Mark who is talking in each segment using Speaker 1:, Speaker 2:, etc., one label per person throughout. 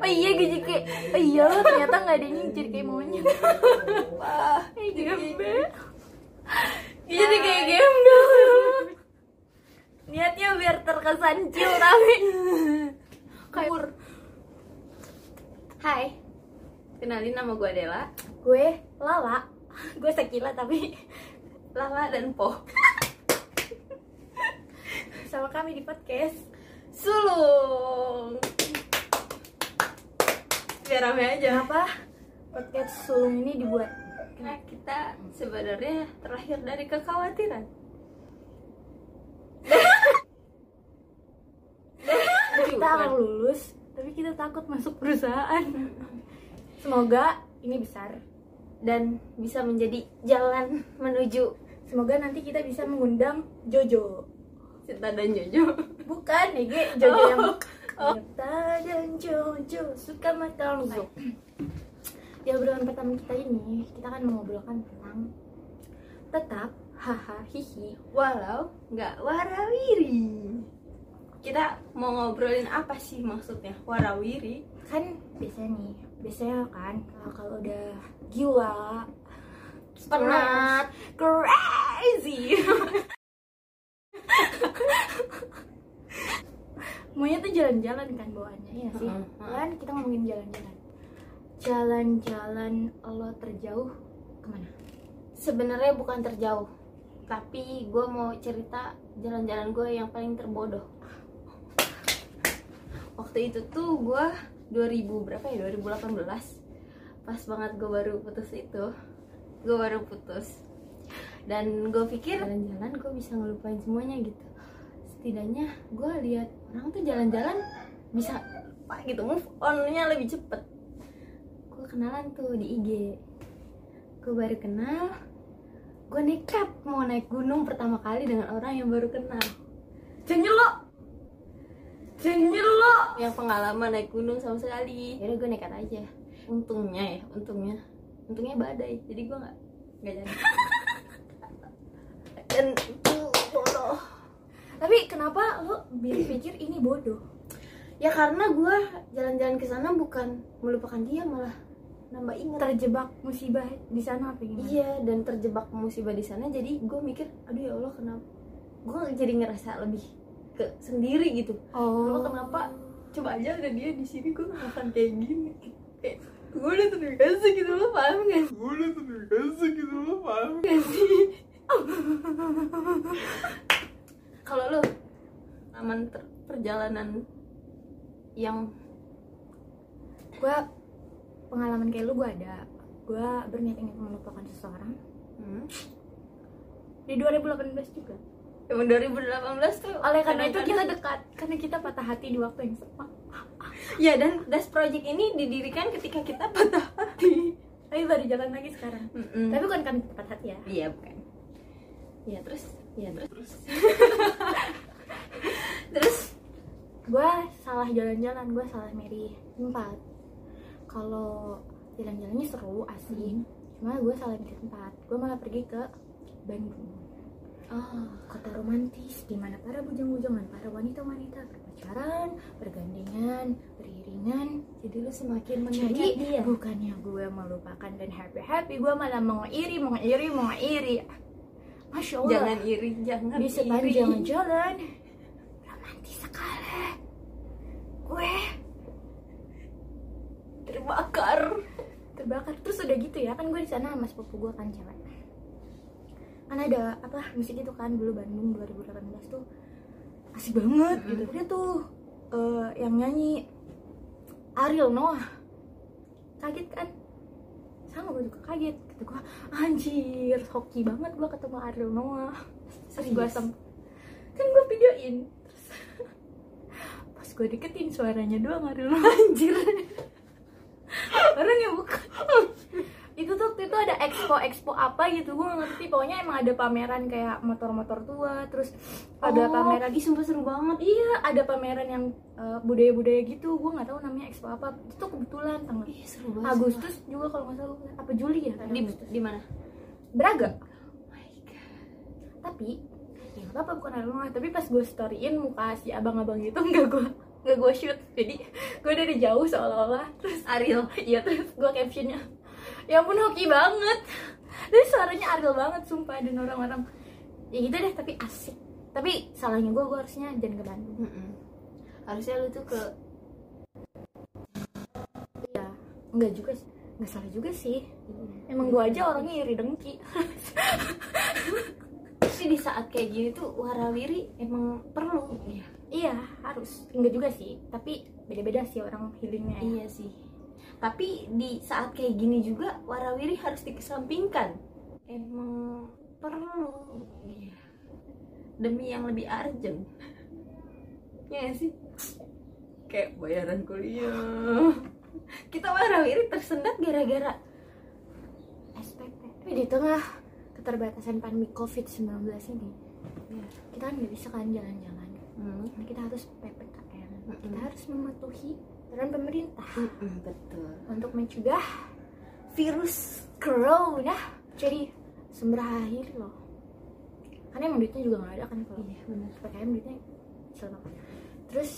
Speaker 1: iya gitu kayak oh iya lo ternyata nggak ada nyicir kayak monyet
Speaker 2: wah gitu.
Speaker 1: kayak gembe Nah.
Speaker 2: Iya, jadi kayak game
Speaker 1: niatnya biar terkesan chill tapi
Speaker 2: Kumur. Hai, kenalin nama gue Dela,
Speaker 1: gue lala gue sekila tapi
Speaker 2: Lala dan Po
Speaker 1: sama kami di podcast
Speaker 2: Sulung Biar rame aja
Speaker 1: kenapa podcast sulung ini dibuat
Speaker 2: Karena kita sebenarnya terlahir dari kekhawatiran
Speaker 1: kita mau lulus tapi kita takut masuk perusahaan semoga ini besar
Speaker 2: Dan bisa menjadi jalan menuju
Speaker 1: semoga nanti kita bisa mengundang Jojo
Speaker 2: Cinta dan Jojo
Speaker 1: bukan ya Ge, Jojo yang Cinta dan Jojo suka makan langsung di obrolan pertama kita ini kita akan mengobrolkan tentang tetap haha hihi
Speaker 2: Walau nggak warawiri Kita mau ngobrolin apa sih maksudnya warawiri?
Speaker 1: kan biasanya nih biasanya kan kalau- kalau udah gila
Speaker 2: Penat.
Speaker 1: crazy maunya tuh jalan-jalan kan bawaannya ya sih
Speaker 2: Heeh, heeh.
Speaker 1: kan kita ngomongin jalan-jalan jalan-jalan lo terjauh kemana
Speaker 2: Sebenarnya bukan terjauh, tapi gue mau cerita jalan-jalan gue yang paling terbodoh. Waktu itu tuh gue 2000 berapa ya? 2018. Pas banget gue baru putus itu, gue baru putus. Dan gue pikir jalan-jalan gue bisa ngelupain semuanya gitu. Setidaknya gue lihat orang tuh jalan-jalan bisa lupa gitu move onnya lebih cepet. Gue kenalan tuh di IG gue baru kenal gue nekat mau naik gunung pertama kali dengan orang yang baru kenal
Speaker 1: janji lo janji lo
Speaker 2: yang pengalaman naik gunung sama sekali yaudah gue Ya nekat aja untungnya ya untungnya untungnya badai jadi gue nggak nggak jadi dan uh, bodoh
Speaker 1: tapi kenapa lo berpikir ini bodoh
Speaker 2: ya karena gue jalan-jalan ke sana bukan melupakan dia malah nambah ingat
Speaker 1: terjebak musibah di sana apa gimana
Speaker 2: Iya dan terjebak musibah di sana jadi gue mikir aduh ya Allah kenapa gue jadi ngerasa lebih ke sendiri gitu
Speaker 1: oh
Speaker 2: Lo kenapa coba aja ada dia di sini gue nggak akan kayak gini kayak gue udah terbiasa gitu lo paham gak sih
Speaker 3: Gue udah terbiasa gitu lo paham
Speaker 2: kalau lo aman ter- perjalanan yang
Speaker 1: gue pengalaman kayak lu gue ada gue berniat ingin melupakan seseorang
Speaker 2: hmm,
Speaker 1: di 2018 juga
Speaker 2: yang 2018 tuh
Speaker 1: oleh karena itu kita
Speaker 2: kadang-kadang-
Speaker 1: dekat karena kita patah hati di waktu yang sama
Speaker 2: ya dan das project ini didirikan ketika kita patah hati
Speaker 1: tapi baru jalan lagi sekarang
Speaker 2: Mm-mm.
Speaker 1: tapi bukan kami patah hati ya
Speaker 2: Iya bukan. Iya terus, iya terus. Terus. terus.
Speaker 1: gue salah jalan-jalan gue salah milih tempat kalau jalan-jalannya seru asik cuma gue salah milih tempat gue malah pergi ke Bandung
Speaker 2: Oh,
Speaker 1: kota romantis di mana para bujang-bujangan, para wanita-wanita berpacaran, bergandengan, beriringan.
Speaker 2: jadi lu semakin
Speaker 1: Jadi
Speaker 2: menyayangi dia.
Speaker 1: bukannya gue melupakan dan happy happy, gue malah mengairi, mengairi, mengairi. Masya Allah.
Speaker 2: Jangan iri, jangan
Speaker 1: di
Speaker 2: iri.
Speaker 1: sepanjang jalan romantis sekali. Gue
Speaker 2: Terbakar.
Speaker 1: terbakar terus udah gitu ya kan gue di sana sama sepupu gue kan cewek kan ada apa musik itu kan dulu Bandung 2018 tuh asik banget
Speaker 2: Mm-mm.
Speaker 1: gitu dia tuh eh, yang nyanyi Ariel Noah kaget kan sama gue juga kaget kata gue anjir hoki banget gue ketemu Ariel Noah terus gue
Speaker 2: Serius?
Speaker 1: sem- kan gue videoin terus pas gue deketin suaranya doang Ariel Noah
Speaker 2: Anjir.
Speaker 1: orang yang bukan itu tuh waktu itu ada expo expo apa gitu gue ngerti pokoknya emang ada pameran kayak motor-motor tua terus ada
Speaker 2: Oh,
Speaker 1: pameran
Speaker 2: Ih, sumpah seru banget.
Speaker 1: iya ada pameran yang eh, budaya-budaya gitu gue nggak tahu namanya expo apa itu tuh kebetulan tanggal
Speaker 2: Ih, seru banget.
Speaker 1: Agustus juga kalau nggak salah apa Juli ya
Speaker 2: sumpah.
Speaker 1: kan?
Speaker 2: di di mana?
Speaker 1: Braga
Speaker 2: Oh my God.
Speaker 1: tapi ya nggak apa bukan Ariel Noah tapi pas gue storyin muka si abang-abang itu nggak gue nggak gue shoot jadi gue dari jauh seolah-olah terus Ariel iya terus gue captionnya ya ampun hoki banget dan suaranya Ariel banget sumpah dan orang-orang ya gitu deh tapi asik tapi salahnya gue gue harusnya jangan ke Bandung
Speaker 2: Mm-mm. harusnya lu tuh ke
Speaker 1: iya nggak juga sih nggak salah juga sih emang gue aja orangnya iri dengki
Speaker 2: tapi di saat kayak gini tuh warawiri emang perlu ya
Speaker 1: iya harus enggak juga sih tapi beda-beda sih orang healingnya ya.
Speaker 2: iya sih tapi di saat kayak gini juga warawiri harus dikesampingkan emang perlu ya. demi yang lebih urgent ya nggak sih kayak bayaran kuliah kita warawiri tersendat gara-gara
Speaker 1: SPP tapi di tengah keterbatasan pandemi COVID-19 ini
Speaker 2: Iya.
Speaker 1: kita kan nggak bisa kan jalan-jalan
Speaker 2: Hmm,
Speaker 1: Nah, kita harus PPKM kita
Speaker 2: Mm-mm.
Speaker 1: harus mematuhi aturan pemerintah
Speaker 2: mm-mm, betul
Speaker 1: untuk mencegah virus corona jadi sembah akhir loh karena emang duitnya juga nggak ada kan kalau
Speaker 2: iya benar
Speaker 1: PPKM duitnya selama terus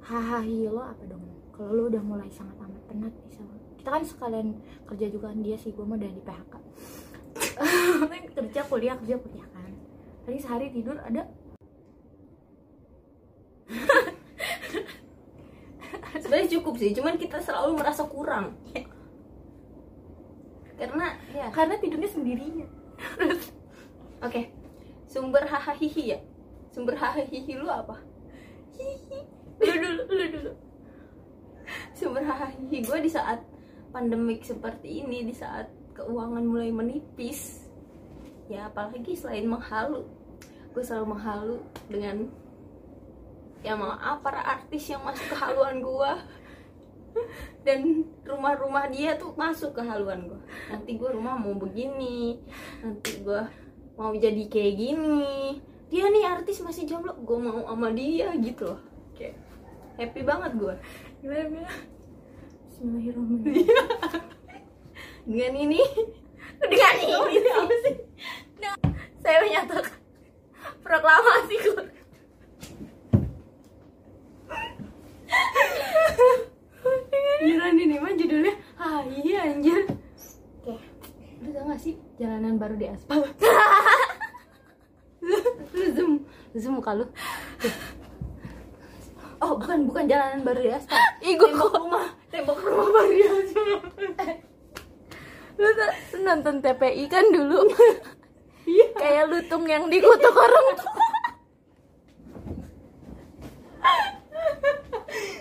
Speaker 1: hahaha lo apa dong kalau lo udah mulai sangat amat penat nih sama kita kan sekalian kerja juga kan dia sih gue mah udah di PHK Kan kerja kuliah kerja kuliah kan tadi sehari tidur ada
Speaker 2: sebenarnya cukup sih cuman kita selalu merasa kurang karena ya
Speaker 1: karena tidurnya sendirinya
Speaker 2: oke sumber hahaha hihi ya sumber hahaha hihi lu apa
Speaker 1: lu dulu lu dulu
Speaker 2: sumber hahaha hihi gue di saat pandemik seperti ini di saat keuangan mulai menipis ya apalagi selain menghalu gue selalu menghalu dengan ya maaf para artis yang masuk ke haluan gue dan rumah-rumah dia tuh masuk ke haluan gue nanti gue rumah mau begini nanti gue mau jadi kayak gini dia nih artis masih jomblo gue mau sama dia gitu loh kayak happy banget gue
Speaker 1: gimana gimana Iya. Bismillahirrahmanirrahim
Speaker 2: dengan ini
Speaker 1: dengan ini apa sih Nah, saya menyatakan proklamasi
Speaker 2: Gila nih mah judulnya Ah iya anjir
Speaker 1: Oke.
Speaker 2: Lu tau gak sih jalanan baru di aspal Lu zoom Lu zoom muka lu Tuh. Oh bukan bukan jalanan baru di aspal
Speaker 1: Ih, gua
Speaker 2: Tembok rumah Tembok rumah baru di aspal
Speaker 1: lu tuh nonton TPI kan dulu
Speaker 2: Iya.
Speaker 1: kayak lutung yang dikutuk orang tua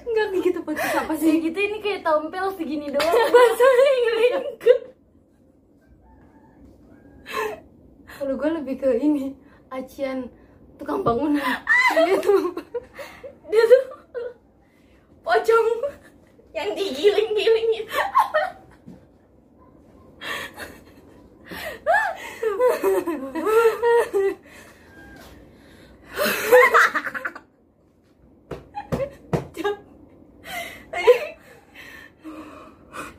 Speaker 2: Enggak gitu podcast apa
Speaker 1: ya
Speaker 2: sih
Speaker 1: gitu ini kayak tompel segini doang bahasanya ngelingkut
Speaker 2: Kalau gue lebih ke ini Acian tukang bangunan Dia tuh
Speaker 1: dia tuh pocong yang digiling-gilingin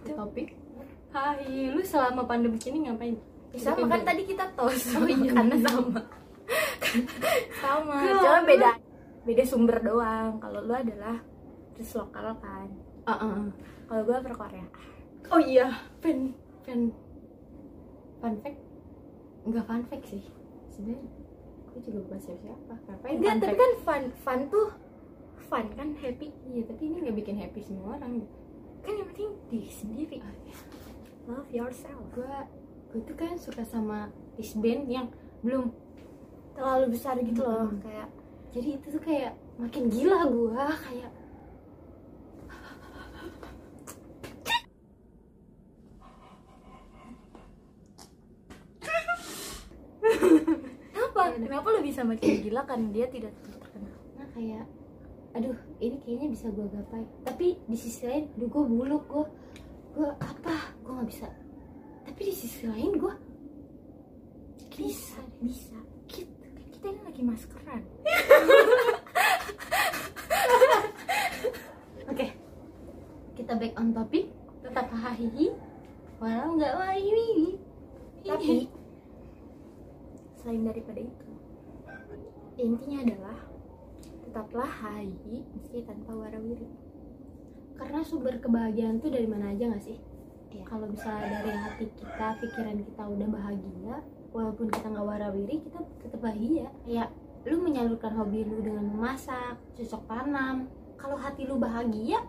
Speaker 2: Topik Hai, lu selama pandemi ini ngapain?
Speaker 1: sama kan tadi kita tos
Speaker 2: Oh iya,
Speaker 1: karena
Speaker 2: bener.
Speaker 1: sama sama
Speaker 2: Ya
Speaker 1: cuma
Speaker 2: ampun.
Speaker 1: beda beda sumber doang kalau lu adalah terus lokal kan
Speaker 2: Ah, ah, ah.
Speaker 1: kalau gua per Korea
Speaker 2: Oh iya, pen pen fun fact nggak fun fact sih sebenarnya aku juga bukan siapa siapa ngapain
Speaker 1: enggak
Speaker 2: fun
Speaker 1: tapi
Speaker 2: fact?
Speaker 1: kan fun fun tuh fun kan happy
Speaker 2: iya tapi ini nggak bikin happy semua orang gitu.
Speaker 1: kan yang penting diri sendiri love yourself
Speaker 2: gue gue tuh kan suka sama this band yang belum
Speaker 1: terlalu besar gitu loh
Speaker 2: Mm-mm.
Speaker 1: kayak
Speaker 2: jadi itu tuh kayak makin gila gue kayak
Speaker 1: kenapa
Speaker 2: Yaudah.
Speaker 1: kenapa lebih sama kayak gila kan dia tidak terkenal
Speaker 2: nah kayak aduh ini kayaknya bisa gue gapai tapi di sisi lain aduh gue buluk gue gue apa gue nggak bisa tapi di sisi lain gue
Speaker 1: bisa bisa kita kan kita ini lagi maskeran
Speaker 2: Oke, kita back on topic. Tetap hahihi, walau nggak wahihi.
Speaker 1: tapi selain daripada itu intinya adalah tetaplah hayi meski tanpa warawiri
Speaker 2: karena sumber kebahagiaan tuh dari mana aja gak sih
Speaker 1: Iya.
Speaker 2: kalau misalnya dari hati kita pikiran kita udah bahagia walaupun kita nggak warawiri kita tetap bahagia
Speaker 1: Iya.
Speaker 2: lu menyalurkan hobi lu dengan memasak cocok tanam kalau hati lu bahagia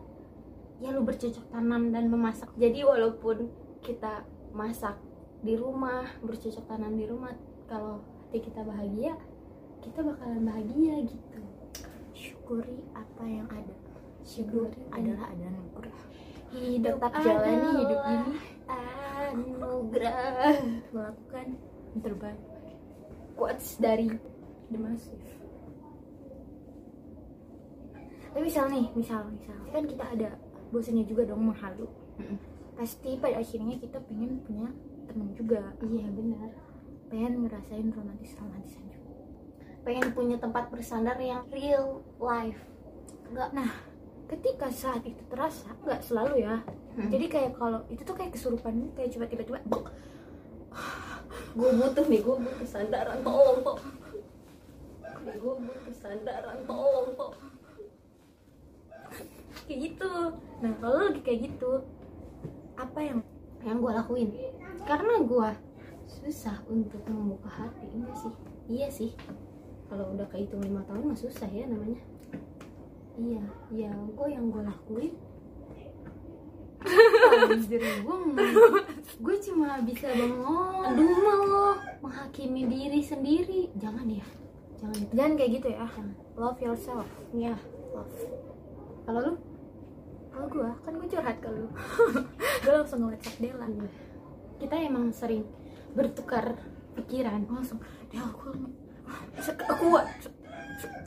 Speaker 2: ya lu bercocok tanam dan memasak jadi walaupun kita masak di rumah bercocok tanam di rumah kalau hati kita bahagia kita bakalan bahagia gitu
Speaker 1: syukuri apa yang ada
Speaker 2: Syukuri
Speaker 1: Hidup
Speaker 2: apa yang-
Speaker 1: adalah adalah anugerah
Speaker 2: hidup
Speaker 1: tetap jalani hidup
Speaker 2: adalah
Speaker 1: ini
Speaker 2: anugerah
Speaker 1: melakukan yang terbaik
Speaker 2: quotes dari
Speaker 1: demasif tapi misal nih misal misal kan kita ada bosannya juga dong menghalu
Speaker 2: Mm-mm.
Speaker 1: pasti pada akhirnya kita pengen punya temen juga
Speaker 2: iya benar
Speaker 1: pengen ngerasain romantis romantisan juga
Speaker 2: pengen punya tempat bersandar yang real life
Speaker 1: nah ketika saat itu terasa nggak selalu ya jadi kayak kalau itu tuh kayak kesurupan kayak cuma tiba-tiba
Speaker 2: gue butuh nih gue butuh sandaran tolong kok gue butuh sandaran tolong kok
Speaker 1: kayak gitu nah kalau lagi kayak gitu apa yang
Speaker 2: yang gue lakuin karena gue susah untuk membuka hati enggak sih iya sih kalau udah kehitung lima tahun mah susah ya namanya iya iya gue yang gue lakuin Anjir, gue gue cuma bisa bengong Aduh lo menghakimi diri sendiri jangan ya jangan itu
Speaker 1: jangan kayak gitu ya
Speaker 2: Jangan.
Speaker 1: love yourself
Speaker 2: ya
Speaker 1: love
Speaker 2: kalau lu
Speaker 1: kalau gue kan gue curhat ke lu gue langsung ngecek Dela
Speaker 2: Iya. kita emang sering bertukar pikiran
Speaker 1: langsung Dela gue aku kuat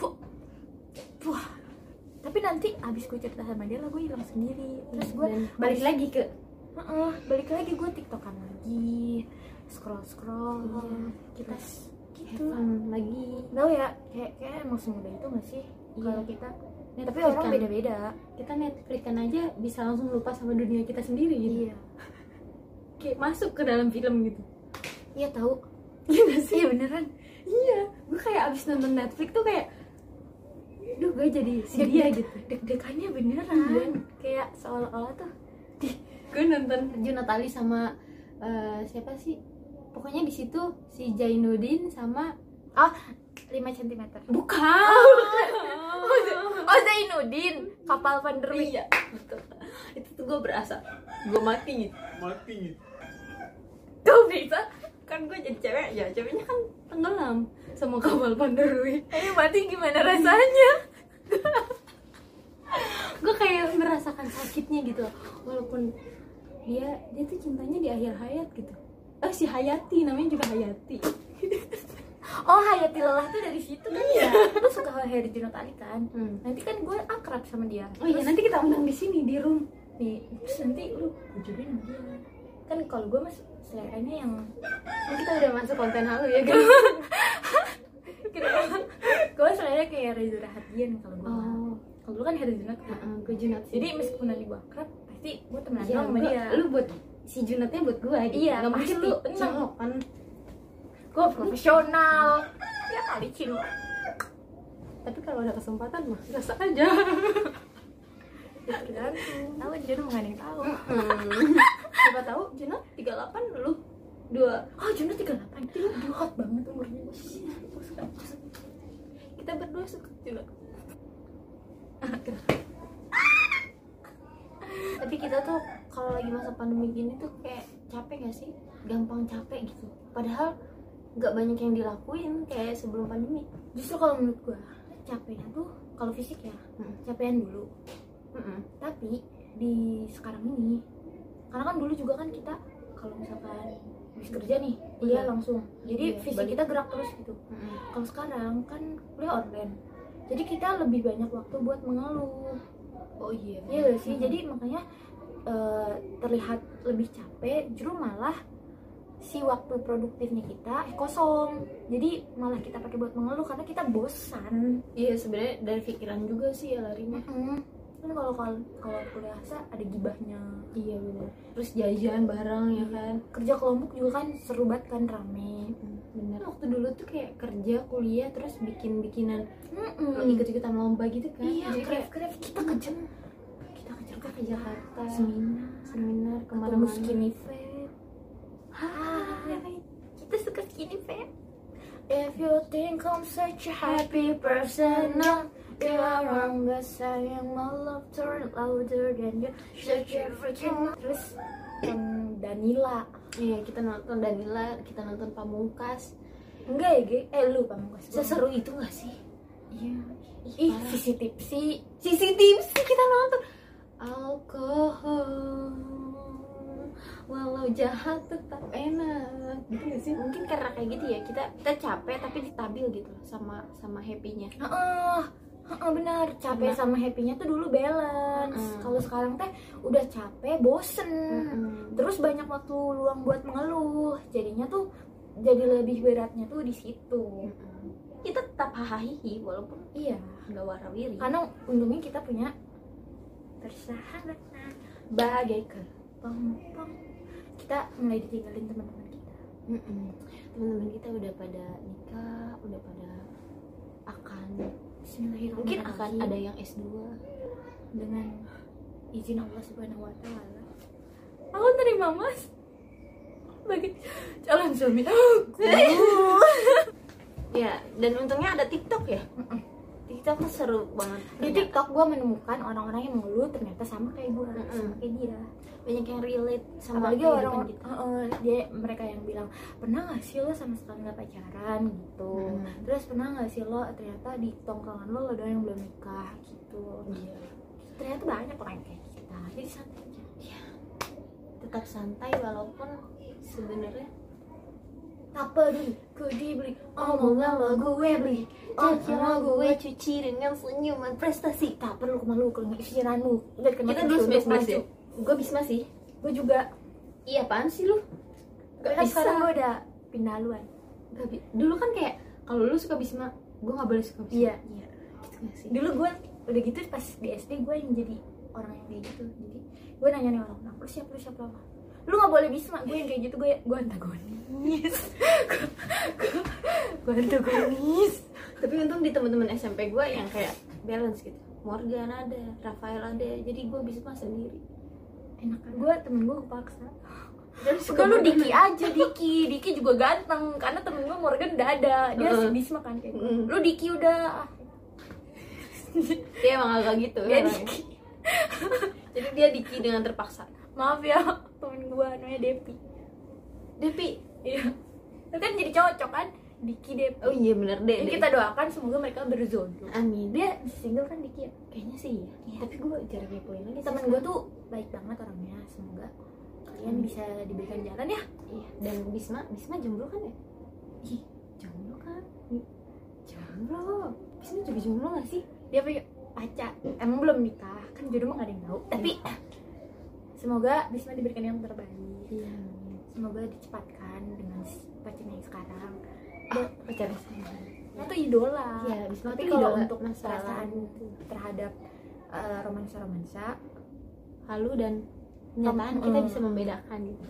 Speaker 1: Puh. Puh. tapi nanti abis gue cerita sama Dela gue hilang sendiri terus gue
Speaker 2: dan balik lagi ke
Speaker 1: Heeh, balik lagi gue tiktokan lagi scroll scroll
Speaker 2: Iya.
Speaker 1: kita
Speaker 2: Terus
Speaker 1: gitu
Speaker 2: Evan Hmm, lagi
Speaker 1: tau ya kayak kayak emang semudah itu gak sih
Speaker 2: Iya.
Speaker 1: kalau kita tapi
Speaker 2: Netflix
Speaker 1: orang
Speaker 2: kan.
Speaker 1: beda beda
Speaker 2: kita Netflixan aja bisa langsung lupa sama dunia kita sendiri gitu
Speaker 1: iya
Speaker 2: kayak masuk ke dalam film gitu
Speaker 1: iya tahu
Speaker 2: iya gak sih
Speaker 1: iya beneran
Speaker 2: iya gue kayak abis nonton Netflix tuh kayak duh gue jadi si dia
Speaker 1: Deg-deg-
Speaker 2: gitu
Speaker 1: ya deg-degannya beneran Iya. kayak seolah-olah tuh
Speaker 2: gue nonton Junot Ali sama eh, siapa sih pokoknya di situ si Jainuddin sama
Speaker 1: oh, 5 cm
Speaker 2: bukan
Speaker 1: oh Zainuddin kapal Van der Wijk
Speaker 2: iya betul itu tuh gue berasa gue mati gitu
Speaker 3: mati
Speaker 2: tuh bisa kan gue jadi cewek ya ceweknya kan tenggelam sama kapal panderui
Speaker 1: ini mati gimana rasanya
Speaker 2: gue kayak merasakan sakitnya gitu loh. walaupun dia dia tuh cintanya di akhir hayat gitu oh si Hayati namanya juga Hayati
Speaker 1: oh Hayati lelah tuh dari situ kan ya lu suka Hayati Junot Ali kan nanti kan gue akrab sama dia
Speaker 2: Hmm. oh iya nanti kita undang di sini di room
Speaker 1: nih terus nanti lu bujurin sama dia kan kalau gue mas seleranya yang
Speaker 2: Ini Oh, kita udah masuk konten halu ya guys
Speaker 1: gue seleranya kayak Reza Rahadian kalau gue
Speaker 2: oh
Speaker 1: kalau lu kan Harry Junot kan?
Speaker 2: uh, gue Junot sih
Speaker 1: jadi meskipun nanti gue akrab pasti gue temenan
Speaker 2: Iya,
Speaker 1: doang sama
Speaker 2: gua-
Speaker 1: dia
Speaker 2: lu buat si Junotnya buat gue gitu.
Speaker 1: Iya,
Speaker 2: nggak mungkin
Speaker 1: pasti.
Speaker 2: lu
Speaker 1: Enggak.
Speaker 2: cengok kan
Speaker 1: gue profesional ya kali cino
Speaker 2: tapi kalau ada kesempatan mah rasa aja
Speaker 1: tergantung tahu jodoh nggak ada yang tahu
Speaker 2: siapa tahu Junot 38 lu dua
Speaker 1: oh jodoh tiga delapan aduh hot banget umurnya gue suka
Speaker 2: kita berdua suka juga tapi kita tuh kalau lagi masa pandemi gini tuh kayak capek gak sih gampang capek gitu padahal nggak banyak yang dilakuin kayak sebelum pandemi
Speaker 1: justru kalau menurut gue capeknya tuh kalau fisik ya
Speaker 2: Hmm.
Speaker 1: capean dulu tapi di sekarang ini karena kan dulu juga kan kita kalau misalkan habis kerja nih kuliah
Speaker 2: Iya.
Speaker 1: langsung jadi
Speaker 2: Iya,
Speaker 1: fisik
Speaker 2: balik.
Speaker 1: kita gerak terus gitu kalau sekarang kan kuliah online jadi kita lebih banyak waktu buat mengeluh
Speaker 2: oh iya
Speaker 1: Iya gak sih? Jadi makanya eh, terlihat lebih capek, justru malah si waktu produktifnya kita eh, kosong. Jadi malah kita pakai buat mengeluh karena kita bosan.
Speaker 2: iya sebenarnya dari pikiran juga sih ya larinya
Speaker 1: Mm-mm. Kan kalau kalau kalau kuliah sa ada gibahnya.
Speaker 2: iya benar terus jajan bareng ya kan
Speaker 1: Kerja kelompok juga kan seru banget kan rame.
Speaker 2: bener waktu dulu tuh kayak kerja kuliah terus bikin bikinan
Speaker 1: Mm-mm.
Speaker 2: ikut ikutan lomba gitu kan
Speaker 1: Iya,
Speaker 2: Jadi kayak
Speaker 1: kreatif kreatif kita kerja
Speaker 2: kita ke Jakarta ke Jakarta
Speaker 1: seminar
Speaker 2: seminar
Speaker 1: kemana
Speaker 2: kemana-mana
Speaker 1: skinny fat. Hai, kita suka skinny fat. If you think I'm such a happy person, no, you are wrong. Cause I am a love turn louder than you. Such a freaking. Terus em, Danila.
Speaker 2: iya kita nonton Danila kita nonton Pamungkas
Speaker 1: Enggak ya, Ge? Eh, lu pamungkas.
Speaker 2: seseru itu gak sih
Speaker 1: Iya.
Speaker 2: Ih,
Speaker 1: Ih, sisi tipsi.
Speaker 2: CCTV sih kita nonton alkohol walau jahat tetap enak gitu gak sih mungkin karena kayak gitu ya kita kita capek tapi stabil gitu loh sama sama happynya
Speaker 1: Heeh. Heeh, benar. Capek
Speaker 2: Benar.
Speaker 1: sama happy-nya tuh dulu balance.
Speaker 2: Mm-mm.
Speaker 1: Kalau sekarang teh udah capek, bosen.
Speaker 2: Mm-mm.
Speaker 1: terus banyak waktu luang buat mengeluh jadinya tuh jadi lebih beratnya tuh di situ
Speaker 2: Mm-mm. Iya. kita tetap hahaha walaupun
Speaker 1: iya
Speaker 2: nggak warawiri
Speaker 1: karena untungnya kita punya persahabatan
Speaker 2: bagaikan
Speaker 1: pong pong kita mulai ditinggalin teman-teman kita
Speaker 2: Mm-mm. teman-teman kita udah pada nikah udah pada akan
Speaker 1: Bismillahirrahmanirrahim.
Speaker 2: mungkin akan ada yang S2
Speaker 1: dengan izin Allah Subhanahu Wa Taala aku terima mas bagi calon suami
Speaker 2: Ya, dan untungnya ada TikTok ya. TikTok tuh seru banget.
Speaker 1: di TikTok gue menemukan orang-orang yang mengeluh ternyata sama kayak gue sama
Speaker 2: Mm-mm.
Speaker 1: kayak dia
Speaker 2: banyak yang relate sama kan
Speaker 1: apalagi
Speaker 2: kehidupan
Speaker 1: orang
Speaker 2: kita.
Speaker 1: Heeh, dia mereka yang bilang pernah nggak sih lo sama sekali nggak pacaran gitu
Speaker 2: Mm.
Speaker 1: terus pernah nggak sih lo ternyata di tongkrongan lo lo doang yang belum nikah gitu
Speaker 2: Iya.
Speaker 1: ternyata banyak orang kayak kita jadi santai aja
Speaker 2: Tetap santai walaupun sebenarnya
Speaker 1: tak peduli ku dibeli omongan Oh, lo gue beli
Speaker 2: Cakira
Speaker 1: omongan
Speaker 2: Oh, gue cuci dengan senyuman prestasi.
Speaker 1: tak perlu malu kalau nggak isiran lu udah kena
Speaker 2: Kita dulu
Speaker 1: sebes
Speaker 2: bisma sih. Gue bisma sih.
Speaker 1: gue juga
Speaker 2: Iya apaan sih lu?
Speaker 1: tapi
Speaker 2: Gak
Speaker 1: kan
Speaker 2: bisa.
Speaker 1: sekarang gue udah pindah luan
Speaker 2: Gak bi- dulu kan kayak kalau lu suka bisma, gue gak boleh suka bisma.
Speaker 1: iya iya
Speaker 2: Gitu gak sih?
Speaker 1: dulu gue udah gitu pas di SD gue yang jadi orang yang kayak gitu jadi gue nanya nih orang orang lu siapa lu siapa lu lu nggak boleh bisma gue yang kayak gitu gue gue antagonis Gue- gue gue antagonis
Speaker 2: Tapi untung di teman-teman SMP gue yang kayak balance gitu. Morgan ada, Rafael ada, jadi gue bisma sendiri.
Speaker 1: enak gue temen gue kepaksa
Speaker 2: Dan
Speaker 1: udah lu Diki aja Diki Diki juga ganteng karena temen gue Morgan udah ada dia
Speaker 2: Heeh.
Speaker 1: bisma kan kayak gue
Speaker 2: Mm.
Speaker 1: lu Diki udah
Speaker 2: dia emang agak gitu
Speaker 1: dia Ya,
Speaker 2: orangnya.
Speaker 1: Diki
Speaker 2: jadi dia diki dengan terpaksa
Speaker 1: maaf ya temen gue namanya Depi
Speaker 2: Depi
Speaker 1: iya Itu kan jadi cocok kan Diki Depi
Speaker 2: oh iya bener deh
Speaker 1: Jadi kita doakan semoga mereka berjodoh.
Speaker 2: amin
Speaker 1: Dia single kan Diki ya.
Speaker 2: kayaknya sih iya
Speaker 1: Iya.
Speaker 2: tapi gue jarang ngepoin lagi
Speaker 1: Ini teman gue tuh baik banget orangnya. Semoga kalian bisa diberikan jalan ya.
Speaker 2: iya dan Bisma Bisma jomblo kan ya
Speaker 1: Ih,
Speaker 2: jomblo kan jomblo Bisma juga jomblo gak sih
Speaker 1: Dia punya pacar. Emang belum nikah. Kan jodoh mah gak ada yang tahu. Tapi semoga Bisma diberikan yang terbaik.
Speaker 2: iya
Speaker 1: Semoga dicepatkan dengan si pacarnya yang sekarang.
Speaker 2: ah pacar sama
Speaker 1: Itu idola.
Speaker 2: Iya, Bisma
Speaker 1: Tapi
Speaker 2: tuh
Speaker 1: kalau
Speaker 2: idola
Speaker 1: untuk
Speaker 2: masa
Speaker 1: perasaan
Speaker 2: lalu.
Speaker 1: terhadap eh, romansa-romansa,
Speaker 2: halu dan kenyataan
Speaker 1: Mm.
Speaker 2: kita bisa membedakan gitu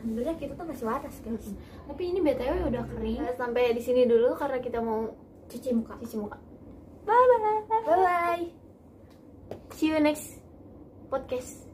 Speaker 1: alhamdulillah kita tuh masih waras guys.
Speaker 2: tapi ini btw udah kering Nah, sampai di sini dulu karena kita mau
Speaker 1: Cuci muka.
Speaker 2: cuci muka bye bye
Speaker 1: Bye bye.
Speaker 2: see you next podcast